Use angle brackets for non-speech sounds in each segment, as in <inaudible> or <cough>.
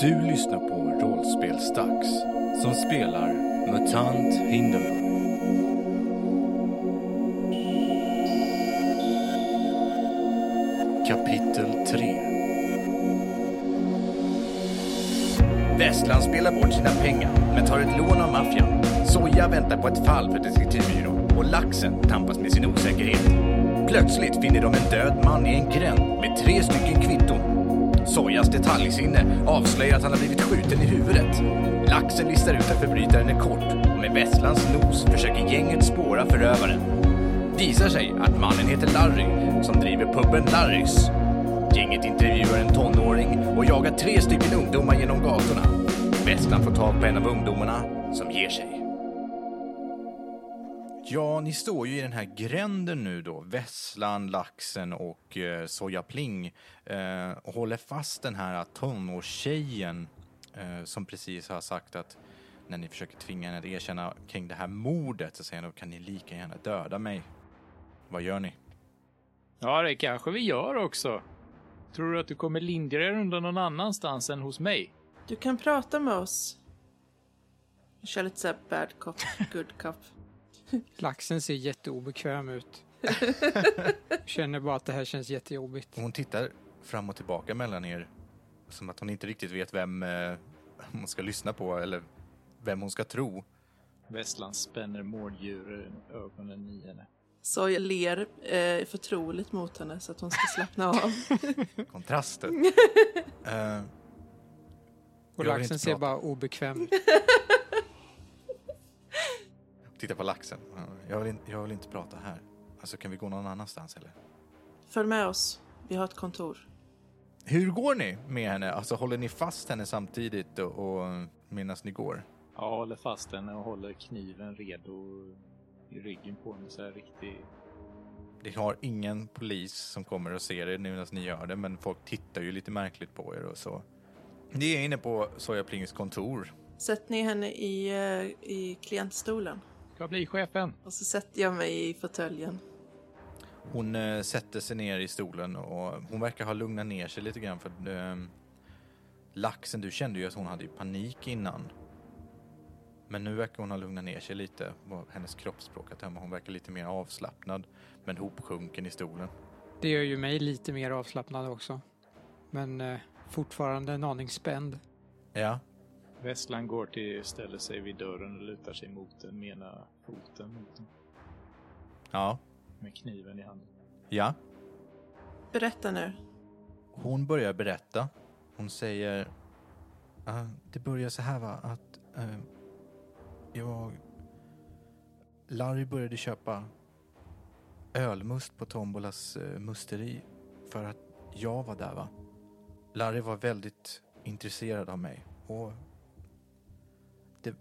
Du lyssnar på Rollspelsdags som spelar MUTANT Hindenburg. Kapitel 3 Västland spelar bort sina pengar, men tar ett lån av maffian. Soja väntar på ett fall för detektivbyrån och laxen tampas med sin osäkerhet. Plötsligt finner de en död man i en gränd med tre stycken kvitton. Sojas detaljsinne avslöjar att han har blivit skjuten i huvudet. Laxen listar ut att förbrytaren är kort och med Västlands nos försöker gänget spåra förövaren. Visar sig att mannen heter Larry som driver puben Larrys Gänget intervjuar en tonåring och jagar tre stycken ungdomar genom gatorna. Västland får tag på en av ungdomarna som ger sig. Ja, ni står ju i den här gränden nu då, Vesslan, Laxen och eh, Soja Pling eh, och håller fast den här tonårstjejen eh, som precis har sagt att när ni försöker tvinga henne att erkänna kring det här mordet så säger hon kan ni lika gärna döda mig. Vad gör ni? Ja, det kanske vi gör också. Tror du att du kommer lindrigare undan någon annanstans än hos mig? Du kan prata med oss. Jag kör lite såhär bad cop, <laughs> good cop. Laxen ser jätteobekväm ut. Känner bara att det här känns jättejobbigt. Och Hon tittar fram och tillbaka mellan er som att hon inte riktigt vet vem eh, hon ska lyssna på eller vem hon ska tro. Västland spänner mårdjuren ögonen i henne. Så jag ler eh, förtroligt mot henne så att hon ska slappna av. Kontrasten. Eh, Och Jag vill laxen inte ser prata. bara obekväm ut. Titta på laxen. Jag vill, in, jag vill inte prata här. Alltså kan vi gå någon annanstans eller? Följ med oss. Vi har ett kontor. Hur går ni med henne? Alltså håller ni fast henne samtidigt och, och medan ni går? Jag håller fast henne och håller kniven redo i ryggen på henne så här riktigt. Det har ingen polis som kommer och ser er nu medan ni gör det, men folk tittar ju lite märkligt på er och så. Ni är inne på Soja Plings kontor. Sätt ner henne i, eh, i klientstolen. Ska bli chefen. Och så sätter jag mig i fåtöljen. Hon eh, sätter sig ner i stolen och hon verkar ha lugnat ner sig lite grann för eh, laxen, du kände ju att hon hade ju panik innan. Men nu verkar hon ha lugnat ner sig lite, vad hennes kroppsspråk att döma. Hon verkar lite mer avslappnad, men hopsjunken i stolen. Det gör ju mig lite mer avslappnad också. Men eh, fortfarande en aning spänd. Ja, Västland går till, ställer sig vid dörren och lutar sig mot den med ena foten mot den, ja, med kniven i handen. ja. Berätta nu. Hon börjar berätta. Hon säger... "Ah, det börjar så här, va? Att eh, jag... Larry började köpa ölmust på Tombolas eh, musteri för att jag var där, va? Larry var väldigt intresserad av mig. Och det,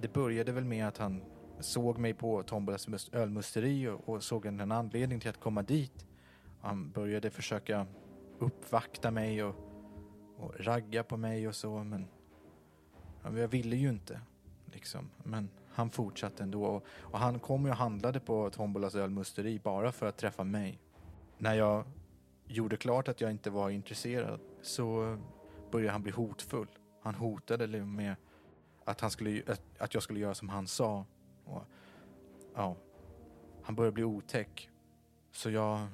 det började väl med att han såg mig på Tombolas mus- ölmusteri och, och såg en, en anledning till att komma dit. Han började försöka uppvakta mig och, och ragga på mig och så, men ja, men jag ville ju inte. Liksom. Men han fortsatte ändå och, och han kom ju och handlade på Tombolas ölmusteri bara för att träffa mig. När jag gjorde klart att jag inte var intresserad så började han bli hotfull. Han hotade li- med att, han skulle, att, att jag skulle göra som han sa. Och, ja, han började bli otäck. Så jag,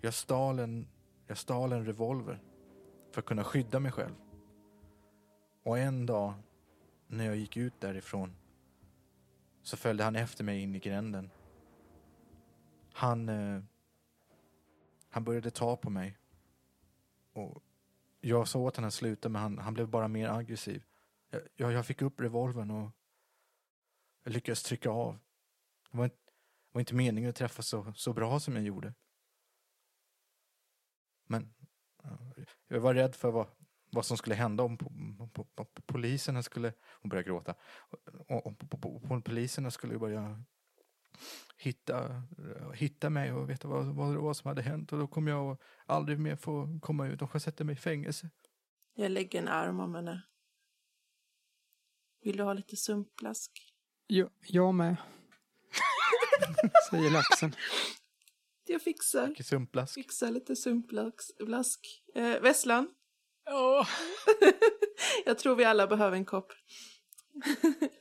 jag stal en, jag stal en revolver för att kunna skydda mig själv. Och en dag när jag gick ut därifrån så följde han efter mig in i gränden. Han, eh, han började ta på mig. Och jag sa åt honom att sluta men han, han blev bara mer aggressiv. Jag- Jag, jag fick upp revolvern och jag lyckades trycka av. Det var inte, det var inte meningen att träffa så, så bra som jag gjorde. Men ja, jag var rädd för vad, vad som skulle hända om po, po, po, po, poliserna skulle... Hon började gråta. Om, om, po- po- om poliserna skulle börja hitta, hitta mig och veta vad, vad det var som hade hänt och då kommer jag aldrig mer få komma ut. De sätter mig i fängelse. Jag lägger en arm om henne. Vill du ha lite sumpblask? Jo, jag med. Säger laxen. Jag fixar. Sumpblask. Fixar lite sumpblask. Blask. Eh, Vesslan, Åh, Jag tror vi alla behöver en kopp.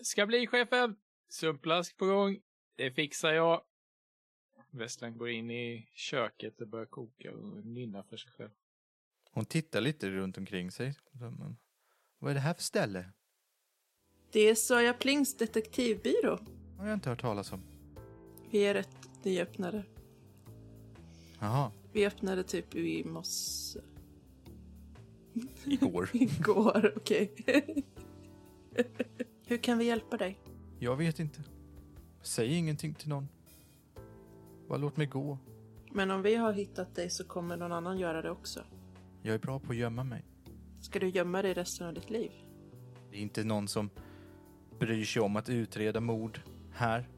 ska bli chefen. Sumplask på gång. Det fixar jag. Västland går in i köket och börjar koka och nynna för sig själv. Hon tittar lite runt omkring sig. Men, Vad är det här för ställe? Det är Sörja Plings detektivbyrå. har jag inte hört talas om. Vi är rätt nyöppnade. Jaha, Vi öppnade typ i mosse igår. <laughs> igår, okej. <laughs> Hur kan vi hjälpa dig? jag vet inte. Säg ingenting till någon. Bara låt mig gå. Men om vi har hittat dig så kommer någon annan göra det också. Jag är bra på att gömma mig. Ska du gömma dig resten av ditt liv? Det är inte någon som bryr sig om att utreda mord här.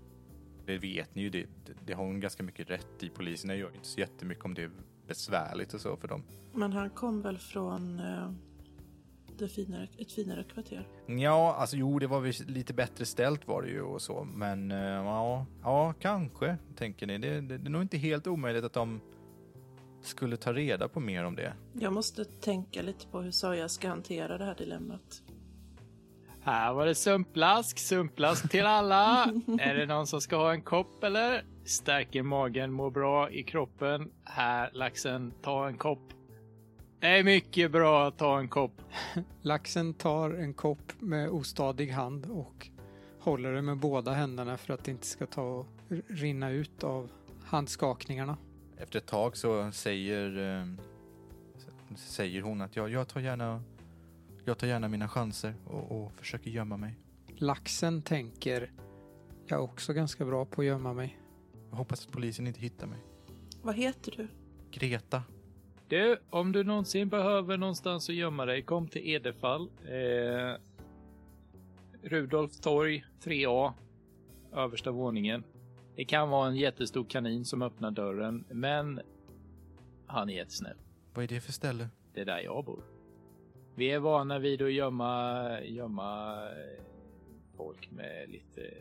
Det vet ni ju, det, det, det har hon ganska mycket rätt i. Poliserna gör ju inte så jättemycket om det är besvärligt och så för dem. Men han kom väl från eh, det finare, ett finare kvarter? Ja, alltså jo, det var väl lite bättre ställt var det ju och så, men eh, ja, ja, kanske tänker ni. Det, det, det är nog inte helt omöjligt att de skulle ta reda på mer om det. Jag måste tänka lite på hur Sörja ska hantera det här dilemmat. Här var det sumplask, sumplask till alla. är det någon som ska ha en kopp eller? Stärker magen, mår bra i kroppen. Här laxen, ta en kopp. Det är mycket bra att ta en kopp. Laxen tar en kopp med ostadig hand och håller den med båda händerna för att det inte ska ta och r- rinna ut av handskakningarna. Efter ett tag så säger, eh, s- säger hon att jag, jag, tar gärna, jag tar gärna mina chanser och, och försöker gömma mig. Laxen tänker, jag är också ganska bra på att gömma mig. Jag hoppas att polisen inte hittar mig. Vad heter du? Greta, Du, om du någonsin behöver någonstans att gömma dig, kom till Edefall. Eh, Rudolf torg 3A, översta våningen. Det kan vara en jättestor kanin som öppnar dörren, men han är jättesnäll. vad är det för ställe? Det är där jag bor. Vi är vana vid att gömma, gömma eh, folk med lite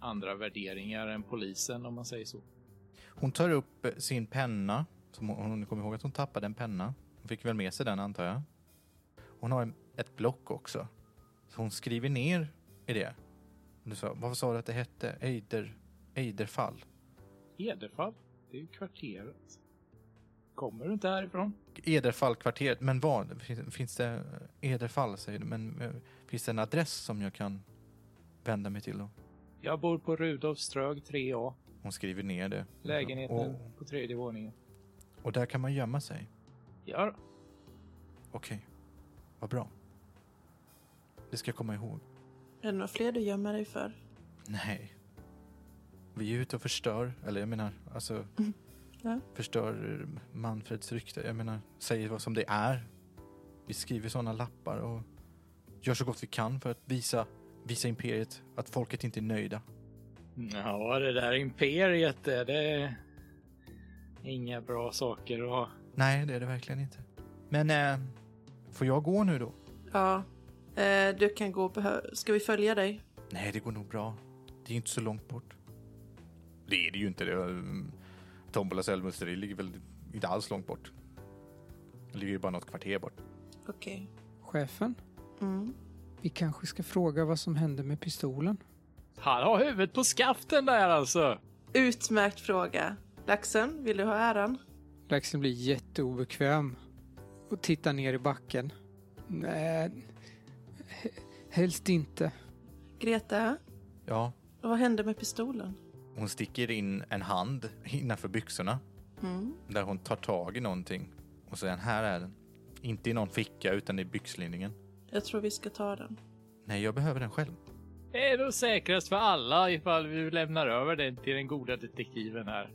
andra värderingar än polisen om man säger så. Hon tar upp eh, sin penna. Som hon, hon kommer ihåg att hon tappade en penna. Hon fick väl med sig den antar jag. Hon har en, ett block också. Så hon skriver ner i det. Du sa, vad sa du att det hette? Eider, Eiderfall. Edefall, det är ju kvarteret. Kommer du inte härifrån? Ederfallkvarteret, men vad? Finns, finns det eh, Ederfall säger du, men eh, finns det en adress som jag kan vända mig till då? Jag bor på Rudolfströg 3A, Hon skriver ner det. lägenheten Och, på tredje våningen. och där kan man gömma sig. Ja, Okej, vad bra. Det ska jag komma ihåg. Är det några fler du gömmer dig för? Nej. Vi är ute och förstör, eller jag menar, alltså... Ja. Förstör Manfreds rykte. Jag menar, säger vad som det är. Vi skriver sådana lappar och gör så gott vi kan för att visa, visa imperiet att folket inte är nöjda. ja det där imperiet, det det är inga bra saker att ha. Nej, det är det verkligen inte. Men, eh, får jag gå nu då? Ja. Eh, du kan gå. behö- Ska vi följa dig? Nej, det går nog bra. Det är ju inte så långt bort. Det är det ju inte. Det, mm, Tombola Sölvmusteri ligger väl inte alls långt bort. Det ligger ju bara något kvarter bort. Okej. Chefen, Mm. vi kanske ska fråga vad som hände med pistolen? Han har huvudet på skaften där alltså! Utmärkt fråga. Laxen, vill du ha äran? Laxen blir jätteobekväm och tittar ner i backen. Nej, he- helst inte. Greta, Ja, vad hände med pistolen? hon sticker in en hand innanför byxorna Mm. där hon tar tag i någonting och säger här är den. Inte i någon ficka utan i byxlinningen. Jag tror vi ska ta den. Nej, jag behöver den själv. Det är nog säkrast för alla ifall vi lämnar över den till den goda detektiven här.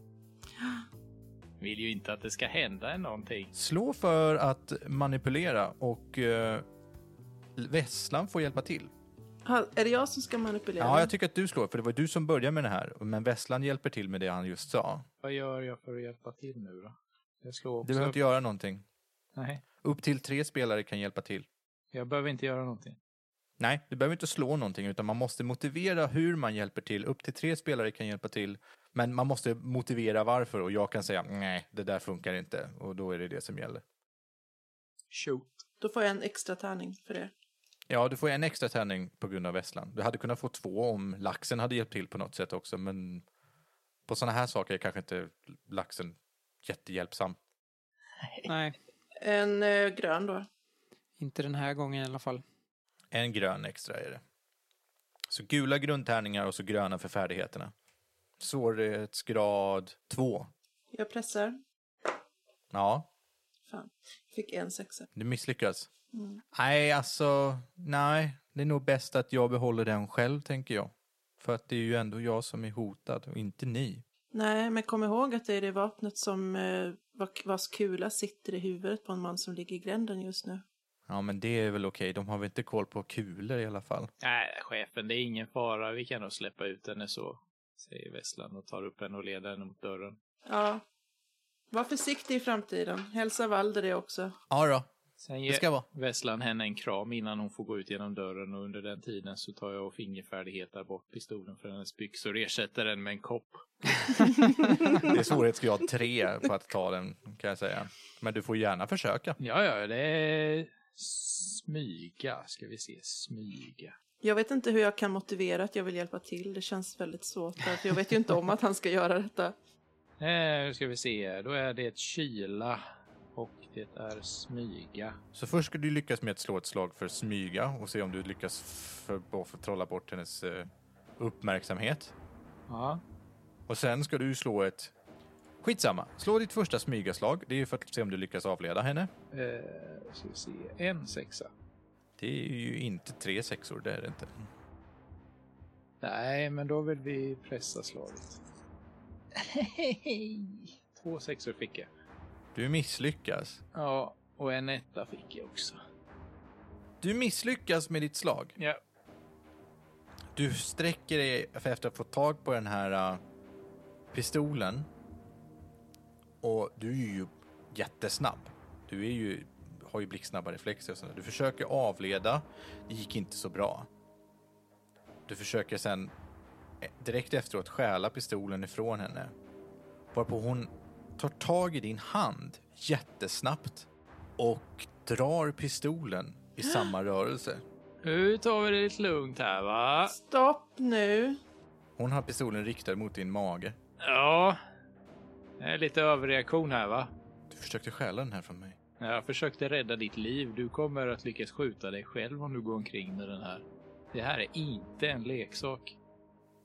Vill ju inte att det ska hända någonting. Slå för att manipulera och eh, Vesslan får hjälpa till. Ha, är det jag som ska manipulera? Ja, jag tycker att du slår för det var du som började med det här. Men Vesslan hjälper till med det han just sa. Vad gör jag för att hjälpa till nu då? Jag slår Du också. behöver inte göra någonting. Nej, Upp till tre spelare kan hjälpa till. jag behöver inte göra någonting. Nej, du behöver inte slå någonting utan man måste motivera hur man hjälper till. Upp till tre spelare kan hjälpa till. Men man måste motivera varför och jag kan säga nej, det där funkar inte och då är det det som gäller. Shoot. Då får jag en extra tärning för det. Ja, du får en extra tärning på grund av vässlan. Du hade kunnat få två om laxen hade hjälpt till på något sätt också, men på sådana här saker är kanske inte laxen jättehjälpsam. Nej, En eh, grön då. inte den här gången i alla fall. En grön extra är det. Så gula grundtärningar och så gröna för färdigheterna. Svårighetsgrad 2. Jag pressar. Ja, Fan. Fick en sexa. Mm. du misslyckas. Nej, alltså, nej. Det är nog bäst att jag behåller den själv, tänker jag. För att det är ju ändå jag som är hotad och inte ni. Nej, men kom ihåg att det är det vapnet som eh, va- vars kula sitter i huvudet på en man som ligger i gränden just nu. Ja, men det är väl okej. De har väl inte koll på kulor i alla fall. Nej, chefen, det är ingen fara. Vi kan nog släppa ut henne så, säger Vesslan och tar upp henne och leder henne mot dörren. Ja. Var försiktig i framtiden. Hälsa Valder det också. Ja då, Sen det ska ger vara. <laughs> Vesslan henne en kram innan hon får gå ut genom dörren och under den tiden så tar jag och fingerfärdighetar bort pistolen från hennes byxor och ersätter den med en kopp. Det är svårighetsgrad 3 på att ta den, kan jag säga. Men du får gärna försöka. Ja, ja, det är smyga, ska vi se, smyga. Jag vet inte hur jag kan motivera att jag vill hjälpa till. Det känns väldigt svårt. där, För jag vet ju inte om att han ska göra detta. Eh, nu ska vi se, då är det kyla och det är smyga. Så först ska du lyckas med att slå ett slag för smyga och se om du lyckas för, för trolla bort hennes eh, uppmärksamhet. Ja, Och sen ska du slå ett... Skitsamma, slå ditt första smygaslag. Det är för att se om du lyckas avleda henne. eh, ska vi se, en sexa. Det är ju inte tre sexor, det är det inte. Nej, men då vill vi pressa slaget. Två sexor fick jag. Du misslyckas. Ja, och en etta fick jag också. Du misslyckas med ditt slag. Ja. Du sträcker dig för- efter att få tag på den här eh, pistolen. Och du är ju jättesnabb. Du är ju, har ju blixtsnabba reflexer och sånt. där. Du försöker avleda. Det gick inte så bra. Du försöker sen eh, direkt efteråt stjäla pistolen ifrån henne. Varpå hon tar tag i din hand jättesnabbt och drar pistolen i samma rörelse. Nu tar vi det lite lugnt här, va? Stopp nu. Hon har pistolen riktad mot din mage. Ja. Det är lite överreaktion här, va? Du försökte stjäla den här från mig. Jag försökte rädda ditt liv. Du kommer att lyckas skjuta dig själv om du går omkring med den här. Det här är inte en leksak.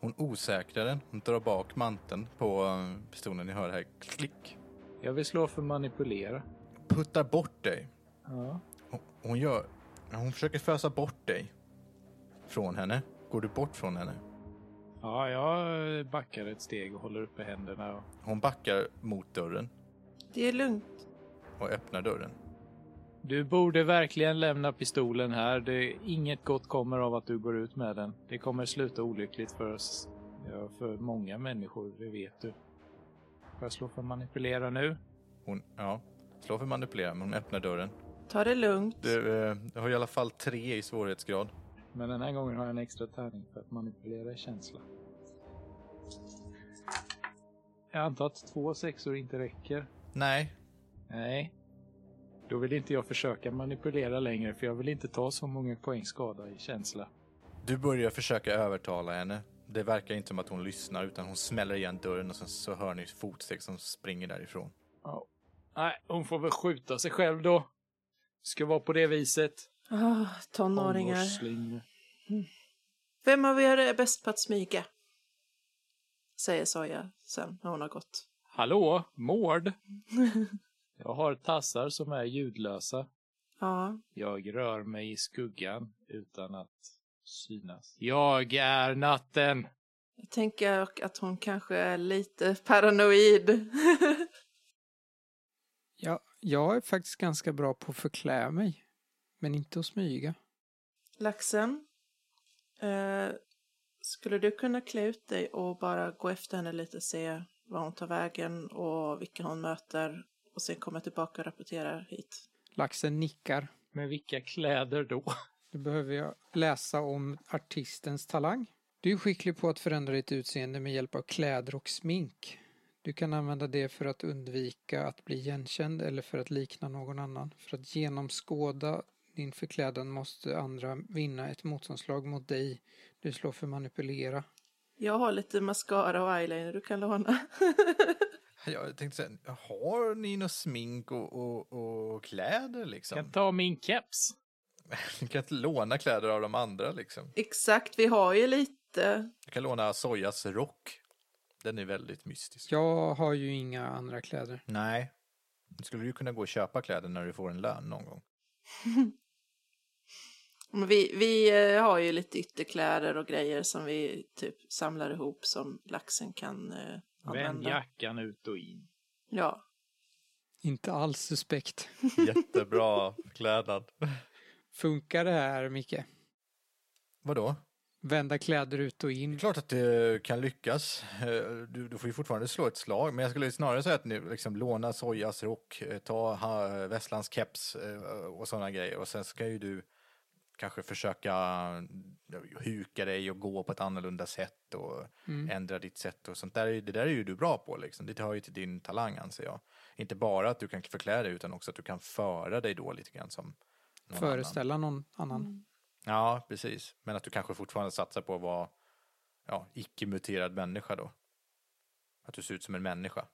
Hon osäkrar den. Hon drar bak manteln på eh, pistolen. Ni hör det här klick. Jag vill slå för manipulera. Puttar bort dig. Ja. Hon, hon gör... Hon försöker fösa bort dig. Från henne. Går du bort från henne? Ja, jag backar ett steg och håller uppe händerna. Och... Hon backar mot dörren Det är lugnt. och öppnar dörren. Du borde verkligen lämna pistolen här. Det, inget gott kommer av att du går ut med den. Det kommer sluta olyckligt för oss. Ja, för många människor, det vet du. Får jag slå för manipulera nu? Hon... Ja. Slå för manipulera, men hon öppnar dörren. Ta det lugnt. Du, eh, du har i alla fall tre i svårighetsgrad. Men den här gången har jag en extra tärning för att manipulera känsla. Jag antar att två sexor inte räcker. Nej. Nej. Då vill inte jag försöka manipulera längre för jag vill inte ta så många poäng skada i känsla. Du börjar försöka övertala henne. Det verkar inte som att hon lyssnar utan hon smäller igen dörren och sen så hör ni fotsteg som springer därifrån. Ja. Nej, hon får väl skjuta sig själv då. Ska vara på det viset. Ah, tonåringar. Tonårsling. Vem av er är bäst på att smyga? Säger Soja sen när hon har gått. Hallå, Mård? Jag har tassar som är ljudlösa. Ja, Jag rör mig i skuggan utan att synas. Jag är natten! jag tänker att hon kanske är lite paranoid. <laughs> Ja, jag är faktiskt ganska bra på att förklä mig, men inte att smyga. Laxen, eh, skulle du kunna klä ut dig och bara gå efter henne lite, se var hon tar vägen och vilka hon möter och sen komma tillbaka och rapportera hit? Laxen nickar. Men vilka kläder då? Då behöver jag läsa om artistens talang. Du är skicklig på att förändra ditt utseende med hjälp av kläder och smink. Du kan använda det för att undvika att bli igenkänd eller för att likna någon annan. För att genomskåda din förklädnad måste andra vinna ett motståndslag mot dig. Du slår för manipulera. Jag har lite mascara och eyeliner du kan låna. <laughs> Jag tänkte säga, har ni något smink och, och, och kläder liksom? Kan ta min keps. Ni <laughs> kan inte låna kläder av de andra liksom. Exakt, vi har ju lite. Jag kan låna Sojas rock. Den är väldigt mystisk. Jag har ju inga andra kläder. Nej. Skulle du kunna gå och köpa kläder när du får en lön någon gång? Men vi, vi eh, har ju lite ytterkläder och grejer som vi typ samlar ihop som laxen kan eh, Vänd använda. jackan ut och in. Ja. Inte alls suspekt. Jättebra klädnad. Funkar det här, Micke? Vadå? Vända kläder ut och in. Klart att det kan lyckas. Eh, Du, du får ju fortfarande slå ett slag, men jag skulle snarare säga att nu liksom låna Sojas rock, eh, ta ha- Västlands keps eh, och sådana grejer. Och sen ska ju du kanske försöka eh, huka dig och gå på ett annorlunda sätt och ändra ditt sätt och sånt där. är ju- Det där är ju du bra på liksom. Det hör ju till din talang anser jag. Inte bara att du kan förklä dig utan också att du kan föra dig då lite grann som någon annan. Föreställa någon annan. Ja, precis. Men att du kanske fortfarande satsar på att vara ja, icke-muterad människa då. Att du ser ut som en människa.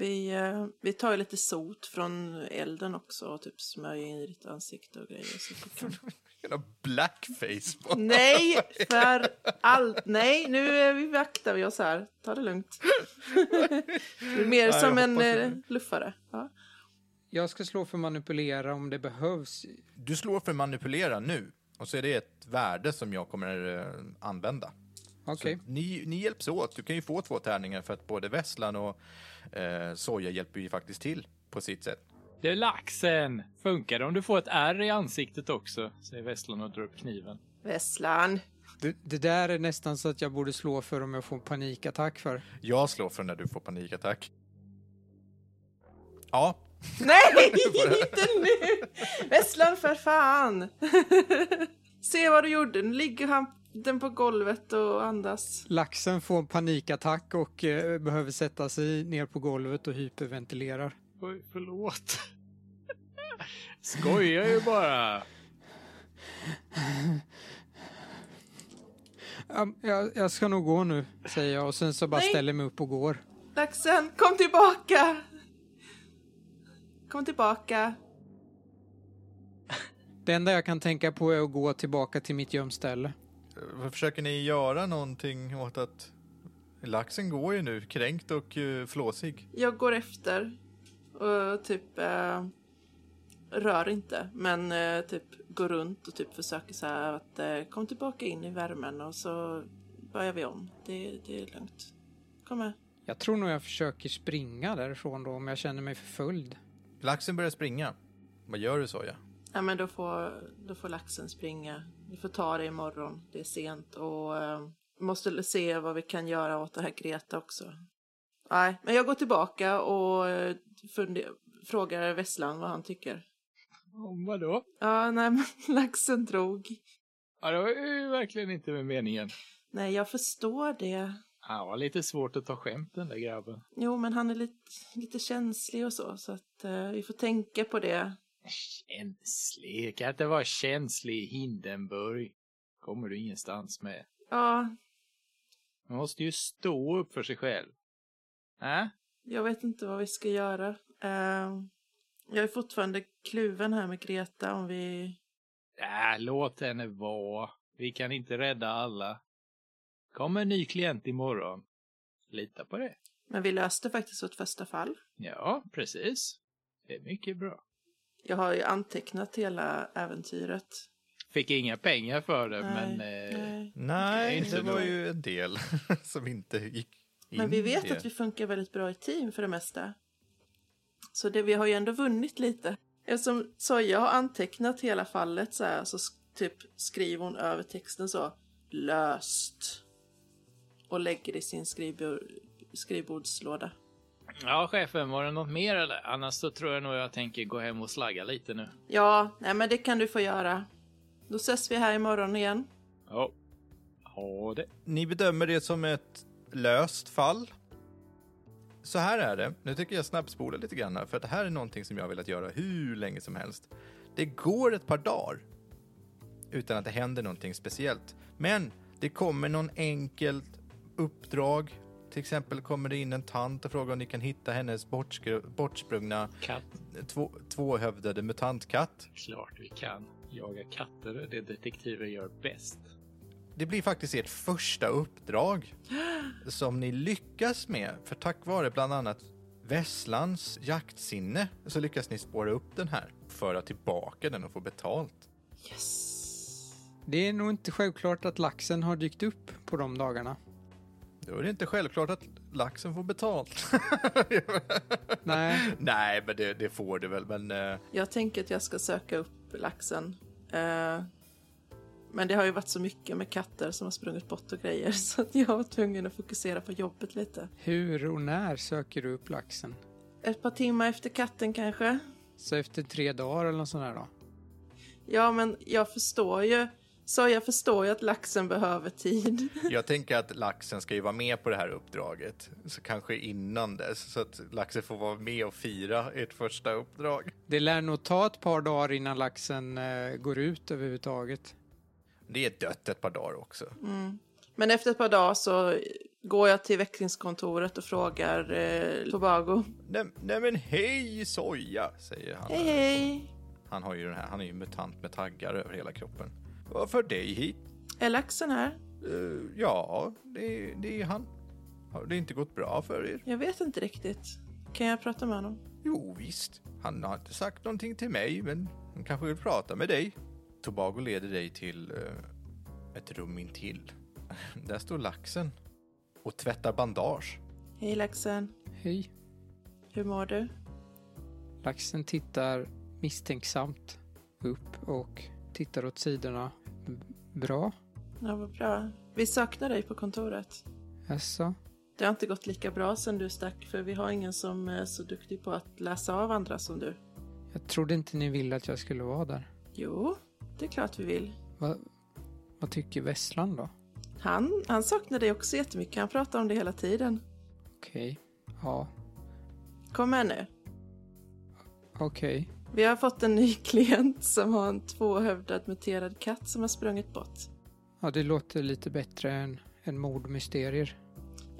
Vi, eh, vi tar ju lite sot från elden också och typ smörjer in i ditt ansikte och grejer. Så att du kan... Jävla blackface bara. <laughs> Nej, för allt. Nej, nu eh, vi vaktar vi oss här. Ta <laughs> det lugnt. Du är mer jag som en hoppas eh, inte. luffare. Ja. Jag ska slå för manipulera om det behövs. Du slår för manipulera nu. Och så är det ett värde som jag kommer eh, använda. Okej. Så ni, ni hjälps åt. Du kan ju få två tärningar för att både Vesslan och eh, Soja hjälper ju faktiskt till på sitt sätt. Du laxen! Funkar det om du får ett ärr i ansiktet också? Säger Vesslan och drar upp kniven. Vesslan. Det, det där är nästan så att jag borde slå för om jag får en panikattack för. Jag slår för när du får panikattack. Ja, <laughs> Nej, inte nu! Vesslan, för fan! <laughs> Se vad du gjorde. Nu ligger han den på golvet och andas. Laxen får en panikattack och eh, behöver sätta sig ner på golvet och hyperventilerar. Oj, förlåt. <laughs> Skojar ju bara. Ja, Jag, jag ska nog gå nu, säger jag och sen så bara Nej. ställer jag mig upp och går. Laxen, kom tillbaka! Kom tillbaka. Det enda jag kan tänka på är att gå tillbaka till mitt gömställe. Eh, Försöker ni göra någonting åt att laxen går ju nu kränkt och eh, flåsig? Jag går efter och typ eh, rör inte, men eh, typ går runt och typ försöker så här att eh, kom tillbaka in i värmen och så börjar vi om. Det, det är lugnt. Kom med. Jag tror nog jag försöker springa därifrån då om jag känner mig förföljd. Laxen börjar springa. Vad gör du Soja? Ja, men då får, då får laxen springa. Vi får ta det imorgon. Det är sent och eh, måste se vad vi kan göra åt det här Greta också. Nej, men jag går tillbaka och eh, funde- frågar Vesslan vad han tycker. Om vadå? Ja, nej, men <laughs> laxen drog. Ja, det var ju verkligen inte med meningen. Nej, jag förstår det. Han var lite svårt att ta skämt den där grabben. Jo, men han är lite, lite känslig och så, så att eh, vi får tänka på det. Känslig? Kan inte vara känslig i Hindenburg. Kommer du ingenstans med. Ja, Man måste ju stå upp för sig själv. Äh? jag vet inte vad vi ska göra. Eh, jag är fortfarande kluven här med Greta om vi... Äh, låt henne vara. Vi kan inte rädda alla. Kommer en ny klient imorgon. Lita på det. Men vi löste faktiskt vårt första fall. Ja, precis. Det är mycket bra. Jag har ju antecknat hela äventyret. Fick inga pengar för det, men... nej, Eh, nej. Nej, inte det var nog. ju en del <laughs> som inte gick in Men vi i vet det. att vi funkar väldigt bra i team för det mesta. Så det, vi har ju ändå vunnit lite. Eftersom Soja har antecknat hela fallet så här så sk- typ skriver hon över texten så löst. Och lägger det i sin skrivbord, skrivbordslåda. Ja, chefen, var det något mer eller? Annars så tror jag nog jag tänker gå hem och slagga lite nu. Ja, nej men det kan du få göra. Då ses vi här imorgon igen. Ja. Ha det. Ni bedömer det som ett löst fall. Så här är det. Nu tycker jag snabbspola lite grann här, för att det här är någonting som jag har velat göra hur länge som helst. Det går ett par dagar utan att det händer någonting speciellt. Men det kommer någon enkelt uppdrag. Till exempel kommer det in en tant och frågar om ni kan hitta hennes bortskru- bortsprungna Katt, två, tvåhövdade mutantkatt. klart vi kan. Jaga katter, det detektiver gör bäst. Det blir faktiskt ert första uppdrag som ni lyckas med. För tack vare bland annat Vesslans jaktsinne så lyckas ni spåra upp den här. Föra tillbaka den och få betalt. Yes. Det är nog inte självklart att laxen har dykt upp på de dagarna. Då är det inte självklart att laxen får betalt. Nej, <laughs> Nej, men det, det får du väl. Men eh, Jag tänker att jag ska söka upp laxen. Eh, men det har ju varit så mycket med katter som har sprungit bort och grejer <laughs> så att jag var tvungen att fokusera på jobbet lite. hur och när söker du upp laxen? Ett par timmar efter katten kanske. Så efter tre dagar eller något sånt här då? Ja, men jag förstår ju. Så jag förstår ju att laxen behöver tid. <laughs> jag tänker att laxen ska ju vara med på det här uppdraget. Så kanske innan dess. Så att laxen får vara med och fira ert första uppdrag. Det lär nog ta ett par dagar innan laxen eh, går ut överhuvudtaget. Det är dött ett par dagar också. Men efter ett par dagar så går jag till växlingskontoret och frågar eh, Tobago. Nej, nej men hej soja, säger han. Hej, hej! Han, har ju den här, han är ju mutant med taggar över hela kroppen. Vad för dig hit? Är laxen här? Eh, ja, det, det är han. Har det inte gått bra för er? Jag vet inte riktigt. Kan jag prata med honom? Jo, visst. Han har inte sagt någonting till mig, men han kanske vill prata med dig. Tobago leder dig till eh, ett rum intill. <laughs> Där står laxen och tvättar bandage. Hej laxen, Hej. hur mår du? Laxen tittar misstänksamt upp och tittar åt sidorna. Bra. Ja, vad bra. Vi saknar dig på kontoret. Jaså? Det har inte gått lika bra sen du stack för vi har ingen som är så duktig på att läsa av andra som du. Jag trodde inte ni ville att jag skulle vara där. Jo, det är klart vi vill. Va, vad tycker Vesslan då? Han, han saknar dig också jättemycket. Han pratar om det hela tiden. Okej. Ja, Kom med nu. okej. Vi har fått en ny <laughs> klient som har en tvåhövdad muterad katt som har sprungit bort. Ja, det låter lite bättre än, än mordmysterier.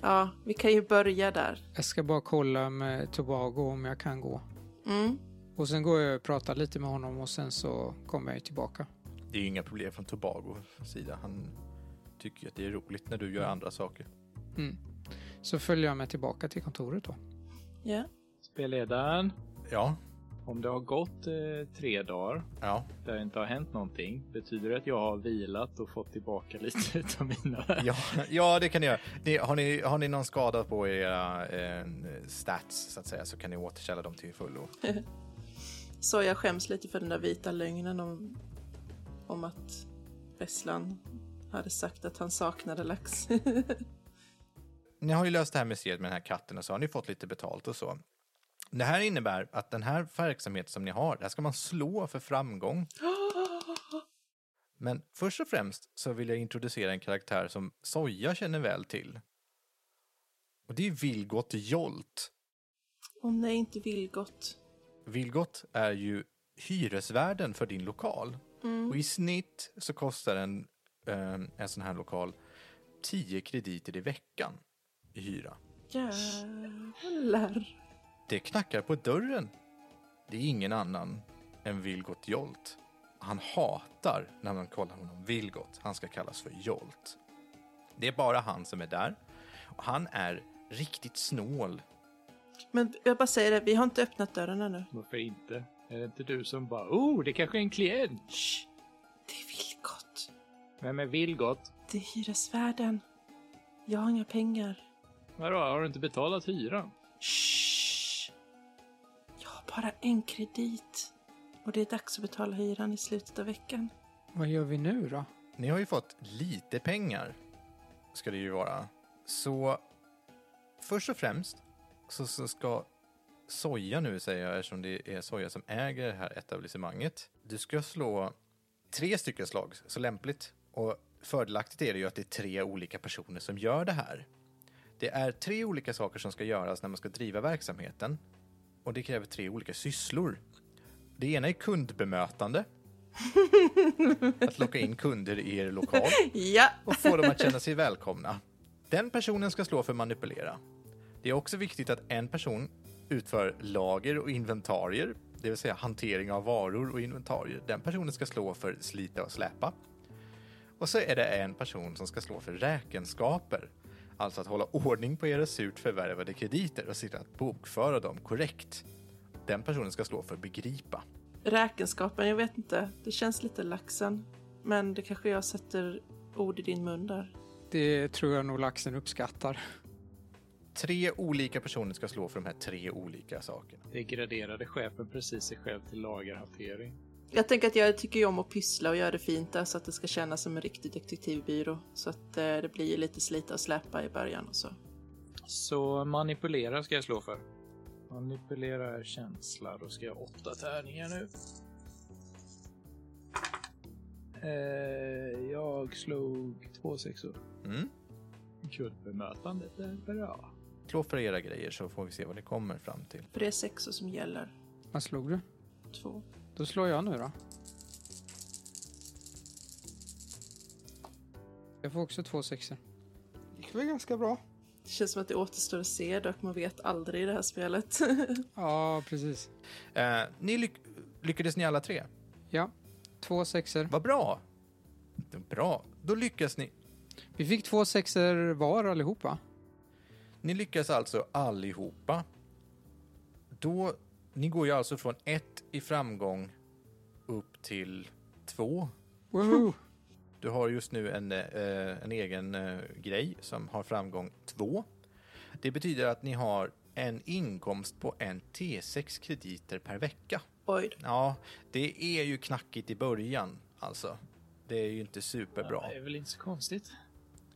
Ja, vi kan ju börja där. Jag ska bara kolla med Tobago om jag kan gå. Mm. Och sen går jag och pratar lite med honom och sen så kommer jag tillbaka. Det är ju inga problem från Tobagos sida. Han tycker ju att det är roligt när du gör andra saker. Mm. Så följer jag med tillbaka till kontoret då. Ja. Spelledaren, Ja, om det har gått eh, tre dagar ja, där det inte har hänt någonting, betyder det att jag har vilat och fått tillbaka <laughs> lite utav mina... ja, ja det kan ni göra. Ni, har, ni, har ni någon skada på era eh, stats så att säga så kan ni återställa dem till fullo. Så jag skäms lite för den där vita lögnen om, om att Vesslan hade sagt att han saknade lax. <laughs> Ni har ju löst det här mysteriet med den här katten och så har ni fått lite betalt och så. Det här innebär att den här verksamheten som ni har, där ska man slå för framgång. Men först och främst så vill jag introducera en karaktär som Soja känner väl till. Och det är Vilgot Jolt. Om nej, inte Vilgot. Vilgot är ju hyresvärden för din lokal. Och i snitt så kostar en, eh, en sån här lokal 10 krediter i veckan i hyra. Jävlar. Det knackar på dörren. Det är ingen annan än Vilgot Jolt. Han hatar när man kallar honom Vilgot. Han ska kallas för Jolt. Det är bara han som är där. Och han är riktigt snål. Men jag bara säger det, vi har inte öppnat dörren ännu. Varför inte? Är det inte du som bara oh, det kanske är en klient? Shh. Det är Vilgot. Vem är Vilgot? Det är hyresvärden. Jag har inga pengar. Vadå, har du inte betalat hyran? Shh. Jag har bara en kredit. Och det är dags att betala hyran i slutet av veckan. Vad gör vi nu då? Ni har ju fått lite pengar, ska det ju vara. Så först och främst så, så ska Soja nu säga, eftersom det är Soja som äger det här etablissemanget. Du ska slå tre stycken slag, så lämpligt. Och fördelaktigt är det ju att det är tre olika personer som gör det här. Det är tre olika saker som ska göras när man ska driva verksamheten. Och det kräver tre olika sysslor. Det ena är kundbemötande. Att locka in kunder i er lokal Ja! och få dem att känna sig välkomna. Den personen ska slå för manipulera. Det är också viktigt att en person utför lager och inventarier, det vill säga hantering av varor och inventarier. Den personen ska slå för slita och släpa. Och så är det en person som ska slå för räkenskaper, alltså att hålla ordning på era surt förvärvade krediter och se till att bokföra dem korrekt. Den personen ska slå för begripa. Räkenskapen, jag vet inte. Det känns lite laxen. Men det kanske jag sätter ord i din mun där. Det tror jag nog laxen uppskattar. Tre olika personer ska slå för de här tre olika sakerna. Degraderade chefen precis sig själv till lagerhantering. Jag tänker att jag tycker ju om att pyssla och göra det fint där så att det ska kännas som en riktig detektivbyrå. Så att eh, det blir ju lite slita och släpa i början och så. Så manipulera ska jag slå för. Manipulera är känsla. Då ska jag ha åtta tärningar nu. Eh, jag slog två sexor. Mm. Kundbemötandet är bra. Slå för era grejer så får vi se vad det kommer fram till. För det är sexor som gäller. Vad slog du? Två. Då slår jag nu då. Jag får också två sexor. Det gick väl ganska bra. Det känns som att det återstår att se dock, man vet aldrig i det här spelet. <laughs> Ja, precis. Eh, ni lyck lyckades ni alla tre? Ja, två sexor. Vad bra! Bra. Då lyckas ni. Vi fick två sexor var allihopa. Ni lyckas alltså allihopa. Då, ni går ju alltså från ett i framgång upp till två. Woho! Du har just nu en, eh, en egen eh, grej som har framgång två. Det betyder att ni har en inkomst på en T6 krediter per vecka. Oj, då. Ja, det är ju knackigt i början alltså. Det är ju inte superbra. Det är väl inte så konstigt.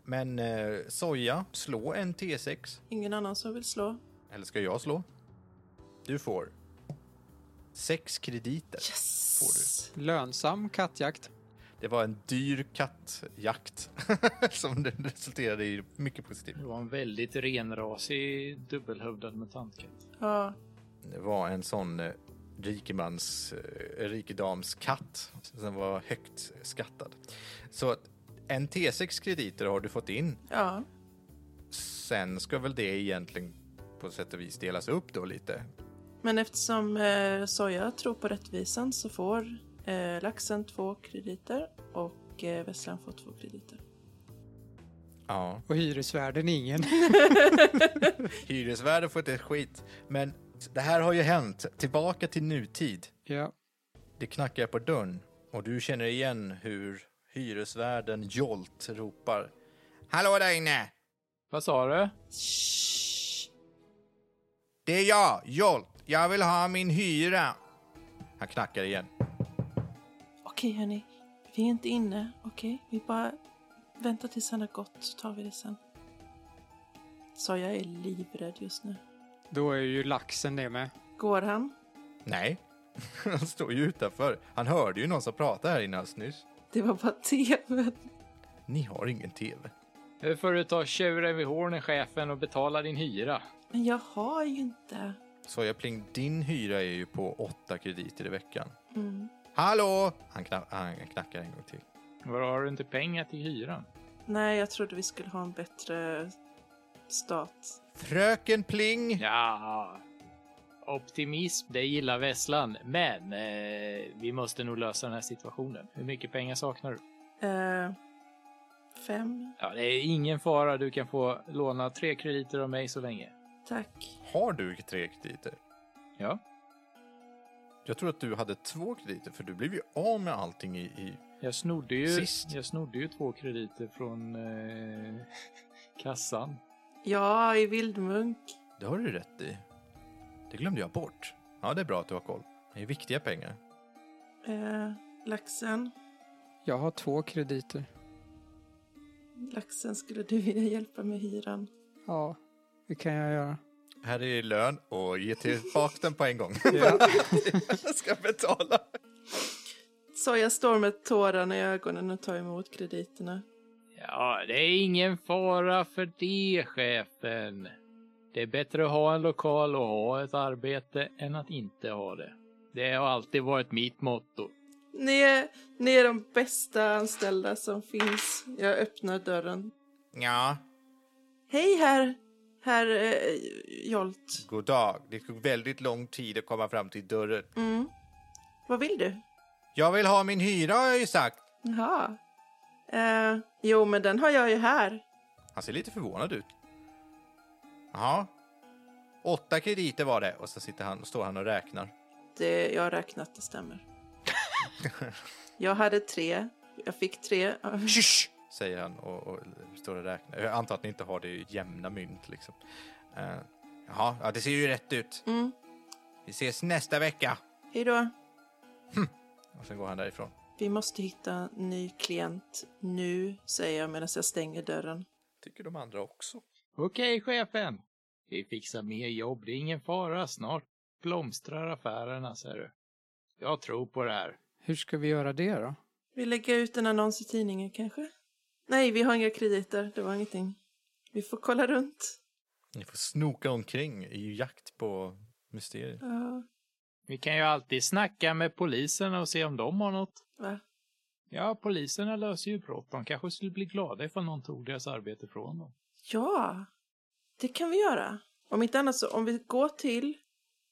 Men eh, soja, slå en T6. ingen annan som vill slå. Eller ska jag slå? Du får sex krediter. Yes! Får Lönsam kattjakt. Det var en dyr kattjakt <laughs> som det resulterade i mycket positivt. Det var en väldigt renrasig dubbelhövdad mutantkatt. Ja, Det var en sån eh, rikemans, eh, rikedomskatt som var högt skattad. Så att en T6 krediter har du fått in. ja. Sen ska väl det egentligen på sätt och vis delas upp då lite. Men eftersom eh, Soja tror på rättvisan så får eh, laxen två krediter och eh, Vesslan får två krediter. Ja. Och hyresvärden ingen. Hyresvärden får inte ett skit. Men det här har ju hänt. Tillbaka till nutid. ja. Det knackar på dörren och du känner igen hur hyresvärden Jolt ropar. Hallå där inne! Vad sa du? Shh. Det är jag, Jolt. Jag vill ha min hyra. Han knackar igen. Okej hörni, vi är inte inne. Okej, vi bara väntar tills han har gått så tar vi det sen. Soja är livrädd just nu. Då är ju laxen det med. Går han? Nej, <laughs> han står ju utanför. Han hörde ju någon som pratade här inne alldeles nyss. Det var bara tvn. Ni har ingen tv. Hur får du ta tjuren vid hornen, chefen, och betala din hyra? Men jag har ju inte. Så jag pling, din hyra är ju på åtta krediter i veckan. Mm. Hallå! Han, kna- han knackar en gång till. Var har du inte pengar till hyran? Nej, jag trodde vi skulle ha en bättre stat. Fröken Pling! Ja, optimism, det gillar Vesslan. Men eh, vi måste nog lösa den här situationen. Hur mycket pengar saknar du? Eh, fem, Ja, det är ingen fara. Du kan få låna tre krediter av mig så länge. tack. Har du tre krediter? Ja, Jag tror att du hade två krediter, för du blev ju av med allting i... i... jag snodde ju, Sist. jag snodde ju två krediter från eh, <laughs> kassan. Ja, i vildmunk. Det har du rätt i. Det glömde jag bort. Ja, det är bra att du har koll. Det är viktiga pengar. Eh, laxen. Jag har två krediter. Laxen, skulle du vilja hjälpa med hyran? Ja, det kan jag göra. Här är lön och ge tillbaka den på en gång. Ja. jag ska betala. Så jag står med tårarna i ögonen och tar emot krediterna. Ja, det är ingen fara för det, chefen. Det är bättre att ha en lokal och ha ett arbete än att inte ha det. Det har alltid varit mitt motto. Ni är, ni är de bästa anställda som finns. Jag öppnar dörren. Ja, Hej herr, herr eh, Jolt. god dag. Det tog väldigt lång tid att komma fram till dörren. Vad vill du? Jag vill ha min hyra har jag ju sagt. Jaha. Eh, jo, men den har jag ju här. Han ser lite förvånad ut. Jaha. Åtta krediter var det och så sitter han, står han och räknar. Det, jag har räknat, det stämmer. jag hade tre. Jag fick tre. <laughs> Tjysch! Säger han och, och står och räknar. Jag antar att ni inte har det i jämna mynt liksom. Eh, jaha, ja, det ser ju rätt ut. Mm. Vi ses nästa vecka. Hej då. Och sen går han därifrån. Vi måste hitta en ny klient nu, säger jag medan jag stänger dörren. Tycker de andra också. Okej, chefen. Vi fixar mer jobb. Det är ingen fara. Snart blomstrar affärerna, ser du. Jag tror på det här. Hur ska vi göra det då? Vi lägger ut en annons i tidningen kanske? Nej, vi har inga krediter. Det var ingenting. Vi får kolla runt. Ni får snoka omkring i jakt på mysterier. Ja, Vi kan ju alltid snacka med polisen och se om de har något. va? Ja, poliserna löser ju brott. De kanske skulle bli glada ifall någon tog deras arbete från dem. Ja, det kan vi göra. Om inte annat så, om vi går till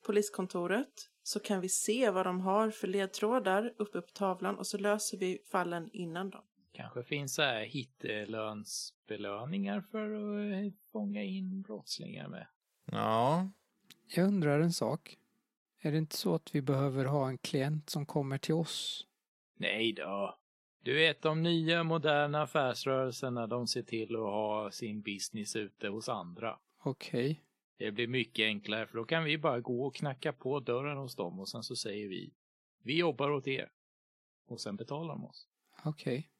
poliskontoret så kan vi se vad de har för ledtrådar uppe på tavlan och så löser vi fallen innan dem. Kanske finns så här hittelönsbelöningar för att eh, fånga in brottslingar med. Ja, Jag undrar en sak. Är det inte så att vi behöver ha en klient som kommer till oss? Nej då. Du vet, de nya moderna affärsrörelserna, de ser till att ha sin business ute hos andra. Okej. Det blir mycket enklare, för då kan vi bara gå och knacka på dörren hos dem och sen så säger vi, vi jobbar åt er. Och sen betalar de oss. Okej.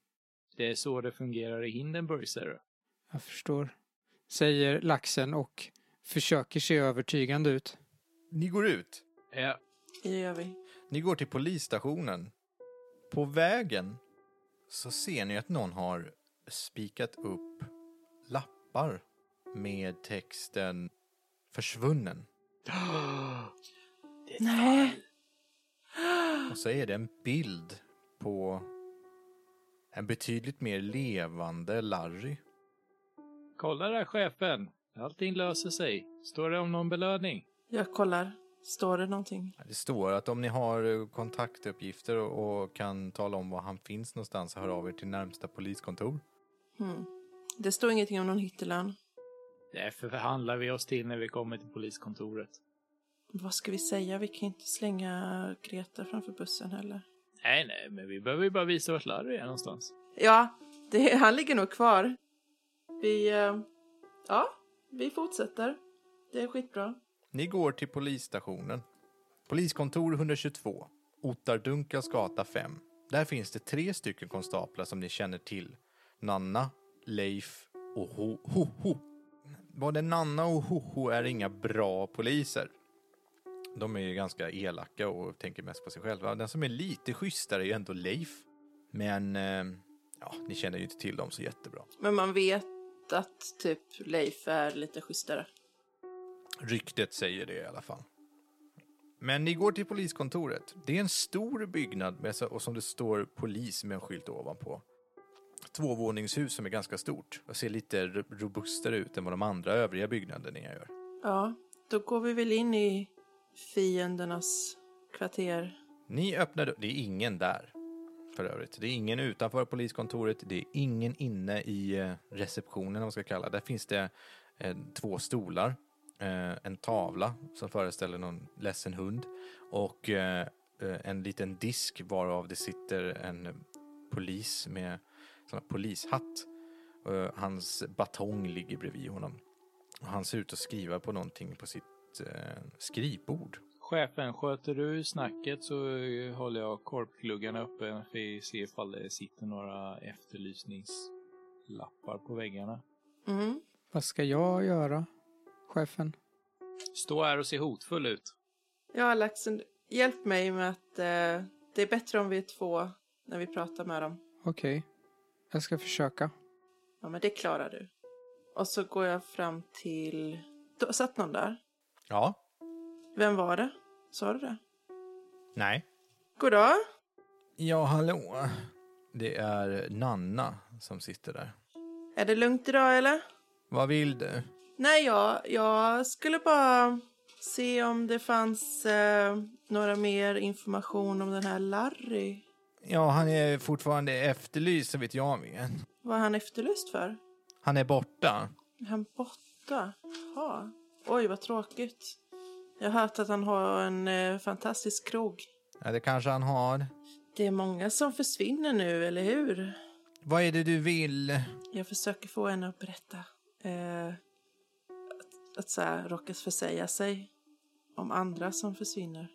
Det är så det fungerar i Hindenburg, ser du. Jag förstår. Säger laxen och försöker se övertygande ut. ni går ut. Ja, Det gör vi. Ni går till polisstationen. På vägen så ser ni att någon har spikat upp lappar med texten försvunnen. Nej, Och så är det en bild på en betydligt mer levande Larry. kolla där chefen. Allting löser sig. Står det om någon belöning? jag kollar. Står det någonting? Det står att om ni har eh, kontaktuppgifter och och kan tala om var han finns någonstans, så hör av er till närmsta poliskontor. Hmm. Det står ingenting om någon hittelön. Det förhandlar vi oss till när vi kommer till poliskontoret. Vad ska vi säga? Vi kan inte slänga Greta framför bussen heller. Nej, nej, men vi behöver ju bara visa vart Larry är någonstans. Ja, det, <laughs> han ligger nog kvar. Vi, eh, ja, vi fortsätter. Det är skitbra. Ni går till polisstationen. Poliskontor 122, Ottardunkels gata 5. Där finns det tre stycken konstaplar som ni känner till. Nanna, Leif och Ho- Hoho. Både Nanna och Hoho är inga bra poliser. De är ju ganska elaka och tänker mest på sig själva. Den som är lite schysstare är ju ändå Leif. Men eh, ja, ni känner ju inte till dem så jättebra. Men man vet att typ Leif är lite schysstare. Ryktet säger det i alla fall. Men ni går till poliskontoret. Det är en stor byggnad med, och som det står polis med en skylt ovanpå. Tvåvåningshus som är ganska stort och ser lite ro- robustare ut än vad de andra övriga byggnaderna gör. Ja, då går vi väl in i fiendernas kvarter. Ni öppnar dörren. Det är ingen där för övrigt. Det är ingen utanför poliskontoret. Det är ingen inne i eh, receptionen, om man ska kalla det. Där finns det eh, två stolar, eh, en tavla som föreställer någon ledsen hund och eh, eh, en liten disk varav det sitter en polis med sån här polishatt. Eh, Hans batong ligger bredvid honom. Och Han ser ut att skriva på någonting på sitt eh, skrivbord. Chefen, sköter du snacket så eh, håller jag korpgluggarna uppe. Vi ser ifall det sitter några efterlysningslappar på väggarna. Mm. Vad ska jag göra, chefen? Stå här och se hotfull ut. Ja, Laxen, hjälp mig med att eh, det är bättre om vi är två när vi pratar med dem. Okej. Jag ska försöka. Ja, men det klarar du. Och så går jag fram till... Då, satt någon där? Ja, Vem var det? Sa du det? Nej. Goddag. Ja, hallå. Det är Nanna som sitter där. Är det lugnt idag eller? Vad vill du? Nej, jag, jag skulle bara se om det fanns eh, några mer information om den här Larry. Ja, han är fortfarande efterlyst så vet jag vet. Vad är han efterlyst för? Han är borta. Är han borta? Jaha. Oj, vad tråkigt. Jag har hört att han har en eh, fantastisk krog. Ja, det kanske han har. Det är många som försvinner nu, eller hur? Vad är det du vill? Jag försöker få henne att berätta. Eh, att, att så här, råka försäga sig om andra som försvinner.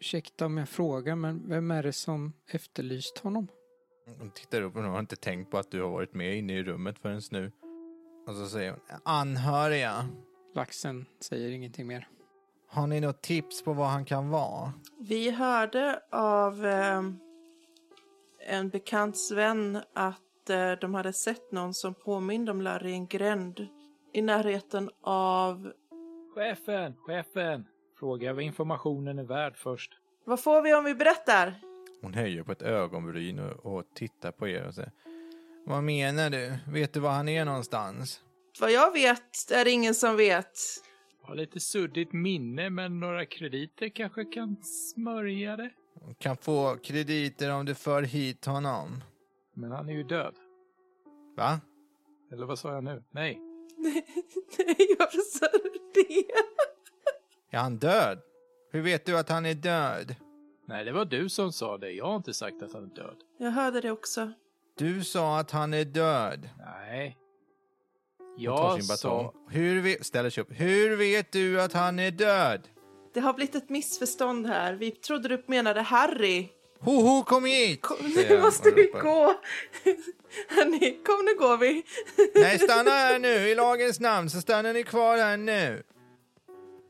Ursäkta om jag frågar, men vem är det som efterlyst honom? Hon tittar upp och hon har inte tänkt på att du har varit med inne i rummet förrän nu. Och så säger hon, anhöriga, Laxen säger ingenting mer. har ni något tips på vad han kan vara? Vi hörde av eh, en bekants vän att eh, de hade sett någon som påminde om Larry i en gränd i närheten av... Chefen, chefen! Fråga vad informationen är värd först. Vad får vi om vi berättar? Hon höjer på ett ögonbryn och, och tittar på er och säger, vad menar du? Vet du var han är någonstans? Vad jag vet är det ingen som vet. Jag har lite suddigt minne, men några krediter kanske kan smörja det. Kan få krediter om du för hit honom. Men han är ju död. Va? Eller vad sa jag nu? Nej. <laughs> Nej, varför sa du det? Är han död? Hur vet du att han är död? Nej, det var du som sa det. Jag har inte sagt att han är död. Jag hörde det också. Du sa att han är död. Nej. Hon tar Jag sin batong. sa... Hur vet, ställer sig upp. Hur vet du att han är död? Det har blivit ett missförstånd här. Vi trodde du menade Harry. Hoho, kom hit! Kom, säger nu han och måste vi ropar. gå. <laughs> Hörni, kom nu går vi. Nej, stanna här nu! I lagens namn så stannar ni kvar här nu.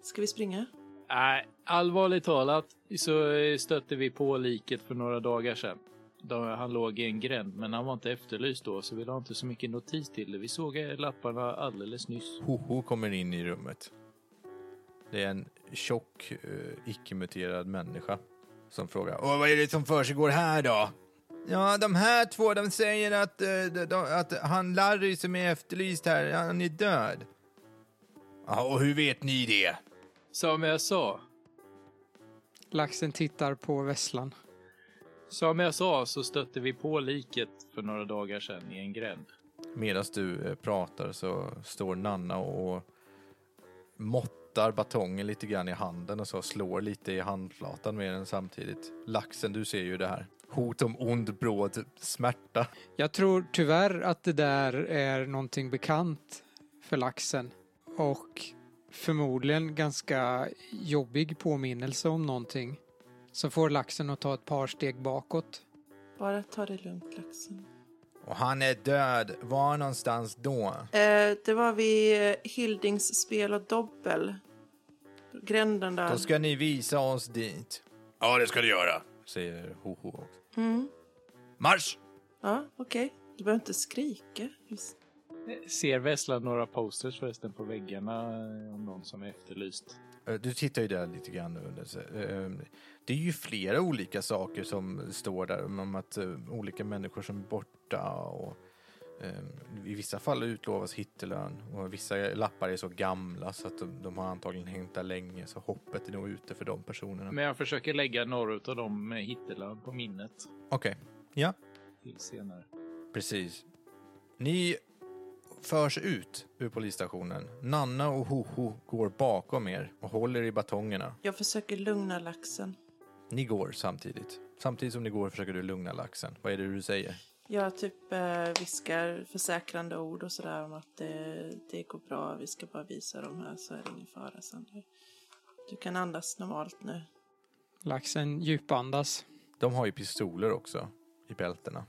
Ska vi springa? Nej, allvarligt talat så eh, stötte vi på liket för några dagar sedan. Då han låg i en gränd, men han var inte efterlyst då, så vi la inte så mycket notis till det. Vi såg eh, lapparna alldeles nyss. Hoho kommer in i rummet. Det är en tjock, eh, icke-muterad människa som frågar. Åh, vad är det som försiggår här då? Ja, de här två, de säger att, eh, de, de, att han Larry som är efterlyst här, han är död. Ja, och hur vet ni det? Som jag sa, Laxen tittar på vesslan. som jag sa så stötte vi på liket för några dagar sedan i en gränd. Medan du eh, pratar så står Nanna och måttar batongen lite grann i handen och så slår lite i handflatan med den samtidigt. Laxen, du ser ju det här. Hot om ond bråd smärta. Jag tror tyvärr att det där är någonting bekant för laxen och förmodligen ganska jobbig påminnelse om någonting som får laxen att ta ett par steg bakåt. Bara ta det lugnt, laxen. Och han är död. Var någonstans då? Eh, det var vid eh, Hildings spel och dobbel. Gränden där. Då ska ni visa oss dit. Ja, det ska du göra. Säger Hoho. Mm. Marsch! Ja, okej. Du behöver inte skrika. Just. Eh, Ser Vesslan några posters förresten på väggarna eh, om någon som är efterlyst? Eh, Du tittar ju där lite grann under. så, eh, Det är ju flera olika saker som står där om att eh, olika människor som är borta och eh, i vissa fall utlovas hittelön och vissa lappar är så gamla så att de, de har antagligen hängt där länge så hoppet är nog ute för de personerna. Men jag försöker lägga några av dem med hittelön på minnet Okej, ja, till senare. precis. Ni förs ut ur polisstationen. Nanna och Hoho går bakom er och håller i batongerna. Jag försöker lugna laxen. Ni går samtidigt. Samtidigt som ni går försöker du lugna laxen. Vad är det du säger? Jag typ eh, viskar försäkrande ord och sådär om att det, det går bra. Vi ska bara visa dem här så är det ingen fara sen. Du, du kan andas normalt nu. Laxen djupandas. De har ju pistoler också i bältena.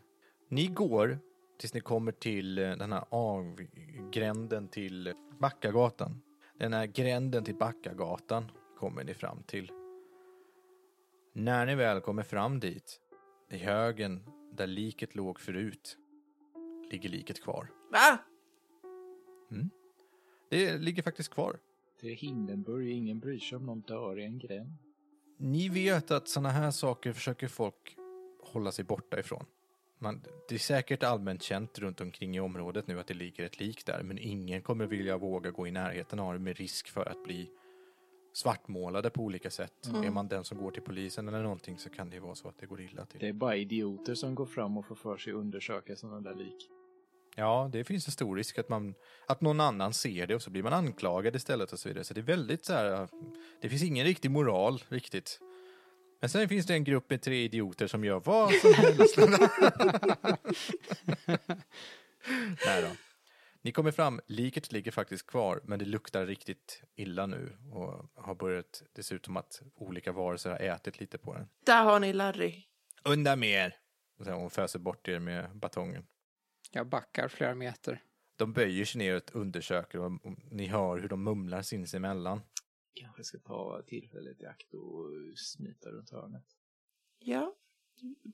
Ni går tills ni kommer till eh, den här avgränden till Backagatan. Den här gränden till Backagatan kommer ni fram till. När ni väl kommer fram dit, i högen där liket låg förut, ligger liket kvar. Va? Det ligger faktiskt kvar. Det är Hindenburg, ingen bryr sig om någon dör i en gränd. Ni vet att såna här saker försöker folk hålla sig borta ifrån. Man, det är säkert allmänt känt runt omkring i området nu att det ligger ett lik där, men ingen kommer vilja våga gå i närheten av det med risk för att bli svartmålade på olika sätt. Är man den som går till polisen eller någonting så kan det ju vara så att det går illa till. Det är bara idioter som går fram och får för sig att undersöka sådana där lik. Ja, det finns en stor risk att, man, att någon annan ser det och så blir man anklagad istället och så vidare. Så det är väldigt så här, det finns ingen riktig moral riktigt. Men sen finns det en grupp med tre idioter som gör vad som helst. <laughs> Nej då. Ni kommer fram, liket ligger faktiskt kvar, men det luktar riktigt illa nu och har börjat, det ser ut som att olika varelser har ätit lite på den. Där har ni Larry. Undan med er! Och sen hon föser bort er med batongen. Jag backar flera meter. De böjer sig ner och undersöker och och ni hör hur de mumlar sinsemellan. Kanske ska ta tillfället i akt och eh, smita runt hörnet. Ja.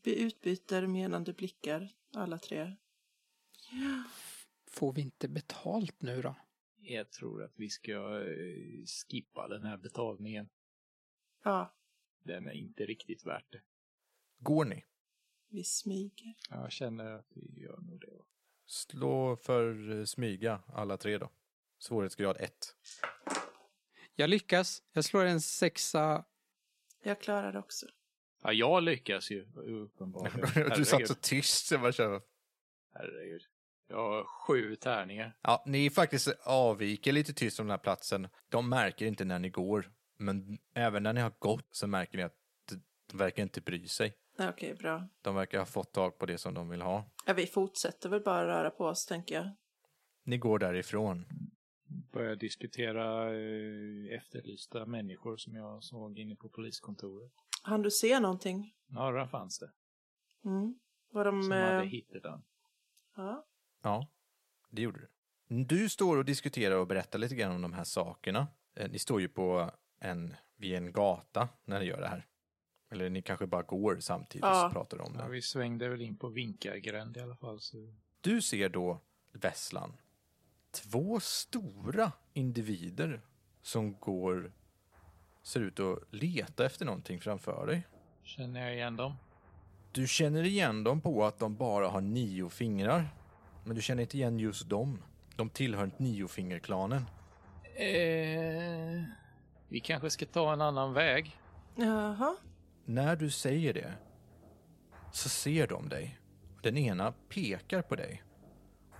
Vi utbyter menande blickar, alla tre. Får vi inte betalt nu då? Jag tror att vi ska eh, skippa den här betalningen. Ja, Den är inte riktigt värt det. Går ni? vi smyger. Jag känner att vi gör nog det. Slå för eh, smyga alla tre då. Svårighetsgrad 1. Jag lyckas. Jag slår en sexa. Jag klarar det också. Ja, jag lyckas ju uppenbarligen. <laughs> du satt Herregud. så tyst. Så jag bara kände- Herregud. Jag har sju tärningar. ja, ni faktiskt avviker lite tyst från den här platsen. De märker inte när ni går. Men även när ni har gått så märker ni att de- de verkar inte bry sig. Nej, Okej, bra. De verkar ha fått tag på det som de vill ha. Ja, vi fortsätter väl bara röra på oss, tänker jag. Ni går därifrån. Börjar diskutera eh, efterlysta människor som jag såg inne på poliskontoret. Han du se någonting? Några fanns det Mm. Var de... som eh, hade hittat den. ja. Ja, det gjorde du. Du står och diskuterar och berättar lite grann om de här sakerna. Eh, Ni står ju på en, vid en gata när ni gör det här. Eller ni kanske bara går samtidigt Ja. och pratar om Ja, det. vi svängde väl in på Vinkargränd i alla fall. Så... Du ser då, Vesslan, två stora individer som går, ser ut att leta efter någonting framför dig. Känner jag igen dem? Du känner igen dem på att de bara har nio fingrar. Men du känner inte igen just dem. De tillhör inte niofingerklanen. Eh, vi kanske ska ta en annan väg. Jaha. När du säger det så ser de dig. Den ena pekar på dig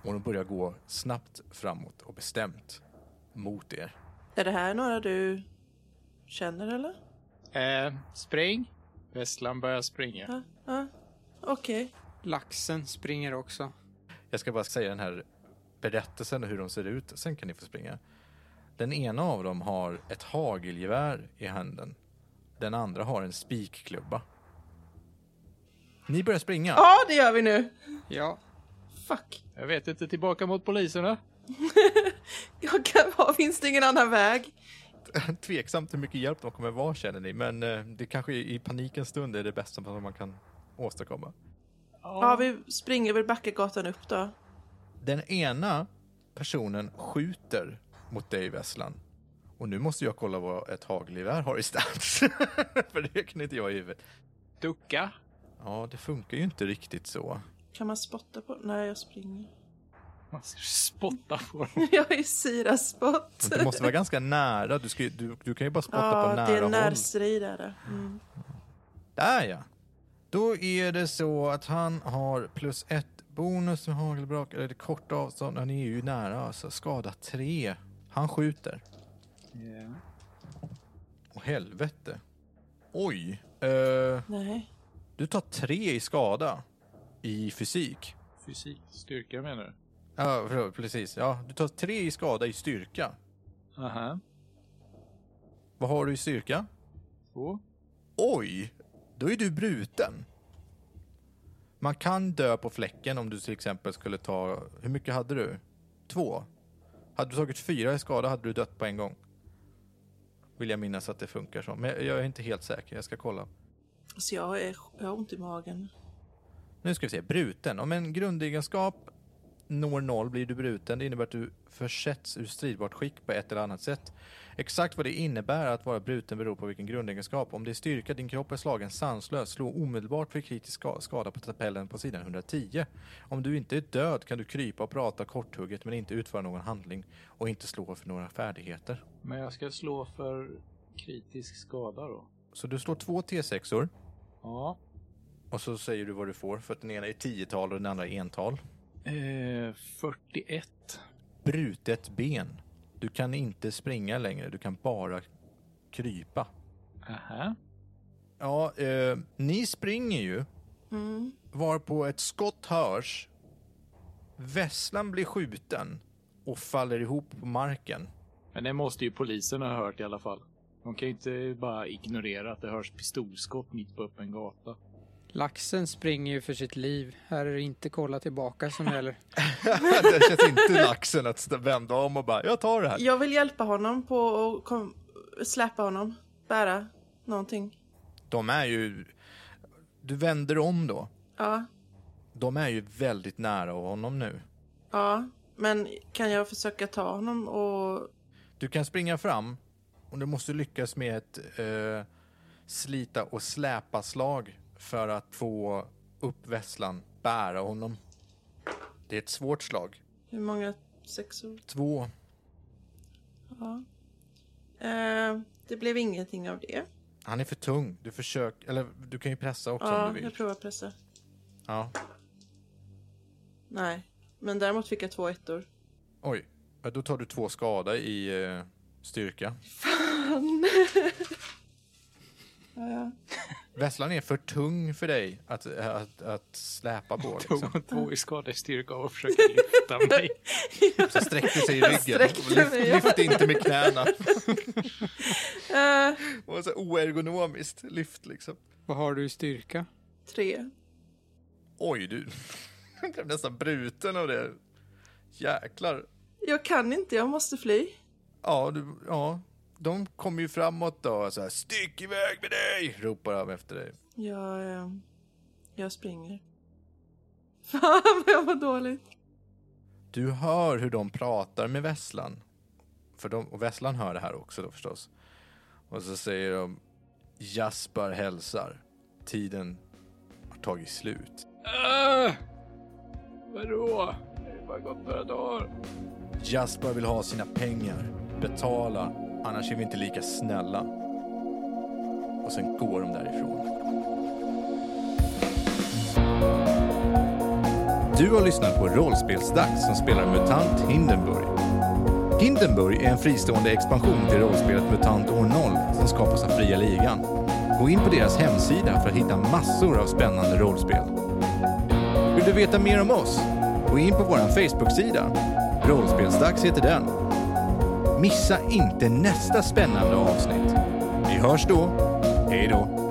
och de börjar gå snabbt framåt och bestämt mot er. Är det här några du känner, eller? Eh, spring! Vesslan börjar springa. Ja. ja. Okej. Laxen springer också. Jag ska bara säga den här berättelsen och hur de ser ut, sen kan ni få springa. Den ena av dem har ett hagelgevär i handen. Den andra har en spikklubba. Ni börjar springa. Ja, det gör vi nu! Ja, Fuck. Jag vet inte, tillbaka mot poliserna. Jag kan, <laughs> har- finns det ingen annan väg? <laughs> Tveksamt hur mycket hjälp de kommer vara känner ni, men eh, det kanske i i panikens stund är det bästa som man kan åstadkomma. Ja, vi springer väl Backagatan upp då. Den ena personen skjuter mot dig, Vesslan. Och nu måste jag kolla vad ett hagelgevär har i stans. <laughs> För det kan inte jag i huvudet. Ducka. Ja, det funkar ju inte riktigt så. Kan man spotta på? Nej, jag springer. <laughs> Man ska spotta på dem. Jag är sirasspott. Det måste vara ganska nära. Du, ska, ju- du, du kan ju bara spotta på Ja, nära det är håll. närstrid är det. Mm. Där ja. Då är det så att han har plus ett bonus med hagelbrak, eller det korta avstånd. Han är ju nära alltså. Skada tre. Han skjuter. Åh helvete. Oj. Eh, Nej. du tar tre i skada i fysik. Fysik, styrka menar du? Ja, för- precis. Ja, du tar tre i skada i styrka. Aha. Vad har du i styrka? Två. Oj, då är du bruten. Man kan dö på fläcken om du till exempel skulle ta... Hur mycket hade du? Två? Hade du tagit fyra i skada hade du dött på en gång. Vill jag minnas att det funkar så. Men jag- jag är inte helt säker, jag ska kolla. Så jag, är, jag har ont i magen. Nu ska vi se, bruten. Om en grundegenskap når noll blir du bruten. Det innebär att du försätts ur stridbart skick på ett eller annat sätt. Exakt vad det innebär att vara bruten beror på vilken grundegenskap. Om det är styrka, din kropp är slagen sanslös, slå omedelbart för kritisk ska- skada på tabellen på sidan 110. Om du inte är död kan du krypa och prata korthugget men inte utföra någon handling och inte slå för några färdigheter. Men jag ska slå för kritisk skada då. Så du slår två T6or Ja. och så säger du vad du får för att den ena är 10-tal och den andra är ental. Eh, 41. Brutet ben. Du kan inte springa längre, du kan bara krypa. Aha. Ja, eh, ni springer ju. Mm. Varpå ett skott hörs. Vesslan blir skjuten och faller ihop på marken. Men det måste ju polisen ha hört i alla fall. De kan ju inte bara ignorera att det hörs pistolskott mitt på öppen <laughs> gata. Laxen springer ju för sitt liv. Här är det inte kolla tillbaka som gäller. det känns inte laxen att st- vända om och bara, jag tar det här. Jag vill hjälpa honom på att kom- släppa honom, bära någonting. De är ju... Du vänder om då. Ja, De är ju väldigt nära honom nu. ja. Men kan jag försöka ta honom och... Du kan springa fram och du måste lyckas med ett eh, slita och släpa slag för att få upp vesslan, bära honom. Det är ett svårt slag. Hur många sexor? Två. Ja. Eh, det blev ingenting av det. Han är för tung. Du försök, eller du kan ju pressa också om Ja, du jag vill. provar att pressa. Ja. Nej. Men däremot fick jag två ettor. Oj, Ja, då tar du två skada i eh, styrka. Ja, ja. Vesslan är för tung för dig att, att, att släpa på. Liksom. Tog två i skadestyrka och <laughs> försökte lyfta mig. Så sträckte sig i Jag ryggen. sträckte mig. Lyft, lyft inte med knäna. <laughs> Eh, Det var så oergonomiskt lyft liksom. Vad har du i styrka? tre. Oj, du <laughs> jag blev nästan bruten av det. Jäklar. Jag kan inte, jag måste fly. Ja, du, ja. de kommer ju framåt då. Så här, Stick iväg med dig! Ropar de efter dig. Jag, eh, jag springer. <laughs> Fan, jag var dåligt. Du hör hur de pratar med Vesslan. För de, och Vesslan hör det här också då förstås. Och så säger de Jasper hälsar. Tiden har tagit slut. Äh! Vadå? Det har bara gått några dagar. Jasper vill ha sina pengar. Betala, annars är vi inte lika snälla. Och sen går de därifrån. Du har lyssnat på Rollspelsdags som spelar MUTANT Hindenburg. Hindenburg är en fristående expansion till rollspelet MUTANT år 0 som skapas av Fria Ligan. Gå in på deras hemsida för att hitta massor av spännande rollspel. Vill du veta mer om oss? Gå in på vår Facebook-sida. Rollspelsdags heter den. Missa inte nästa spännande avsnitt. Vi hörs då. Hej då.